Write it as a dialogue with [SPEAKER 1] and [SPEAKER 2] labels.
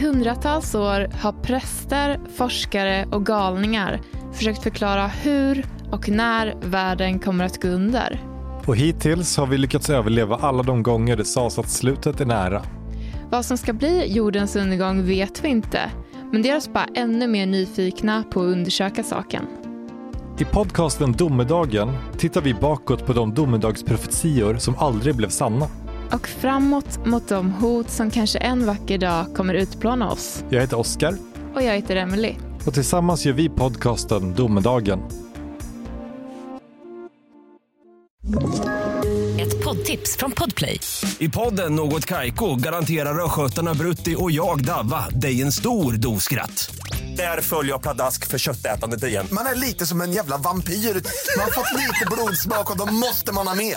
[SPEAKER 1] hundratals år har präster, forskare och galningar försökt förklara hur och när världen kommer att gå under.
[SPEAKER 2] Och hittills har vi lyckats överleva alla de gånger det sades att slutet är nära.
[SPEAKER 1] Vad som ska bli jordens undergång vet vi inte, men det gör oss bara ännu mer nyfikna på att undersöka saken.
[SPEAKER 2] I podcasten Domedagen tittar vi bakåt på de domedagsprofetior som aldrig blev sanna.
[SPEAKER 1] Och framåt mot de hot som kanske en vacker dag kommer utplåna oss.
[SPEAKER 2] Jag heter Oskar
[SPEAKER 1] Och jag heter Emily.
[SPEAKER 2] och tillsammans gör vi podcasten Domedagen.
[SPEAKER 3] Ett poddtips från Podplay.
[SPEAKER 4] I podden Något Kaiko garanterar östgötarna Brutti och jag, Davva, dig en stor dos skratt. Där följer jag pladask för köttätandet igen.
[SPEAKER 5] Man är lite som en jävla vampyr. Man har fått lite blodsmak och då måste man ha mer.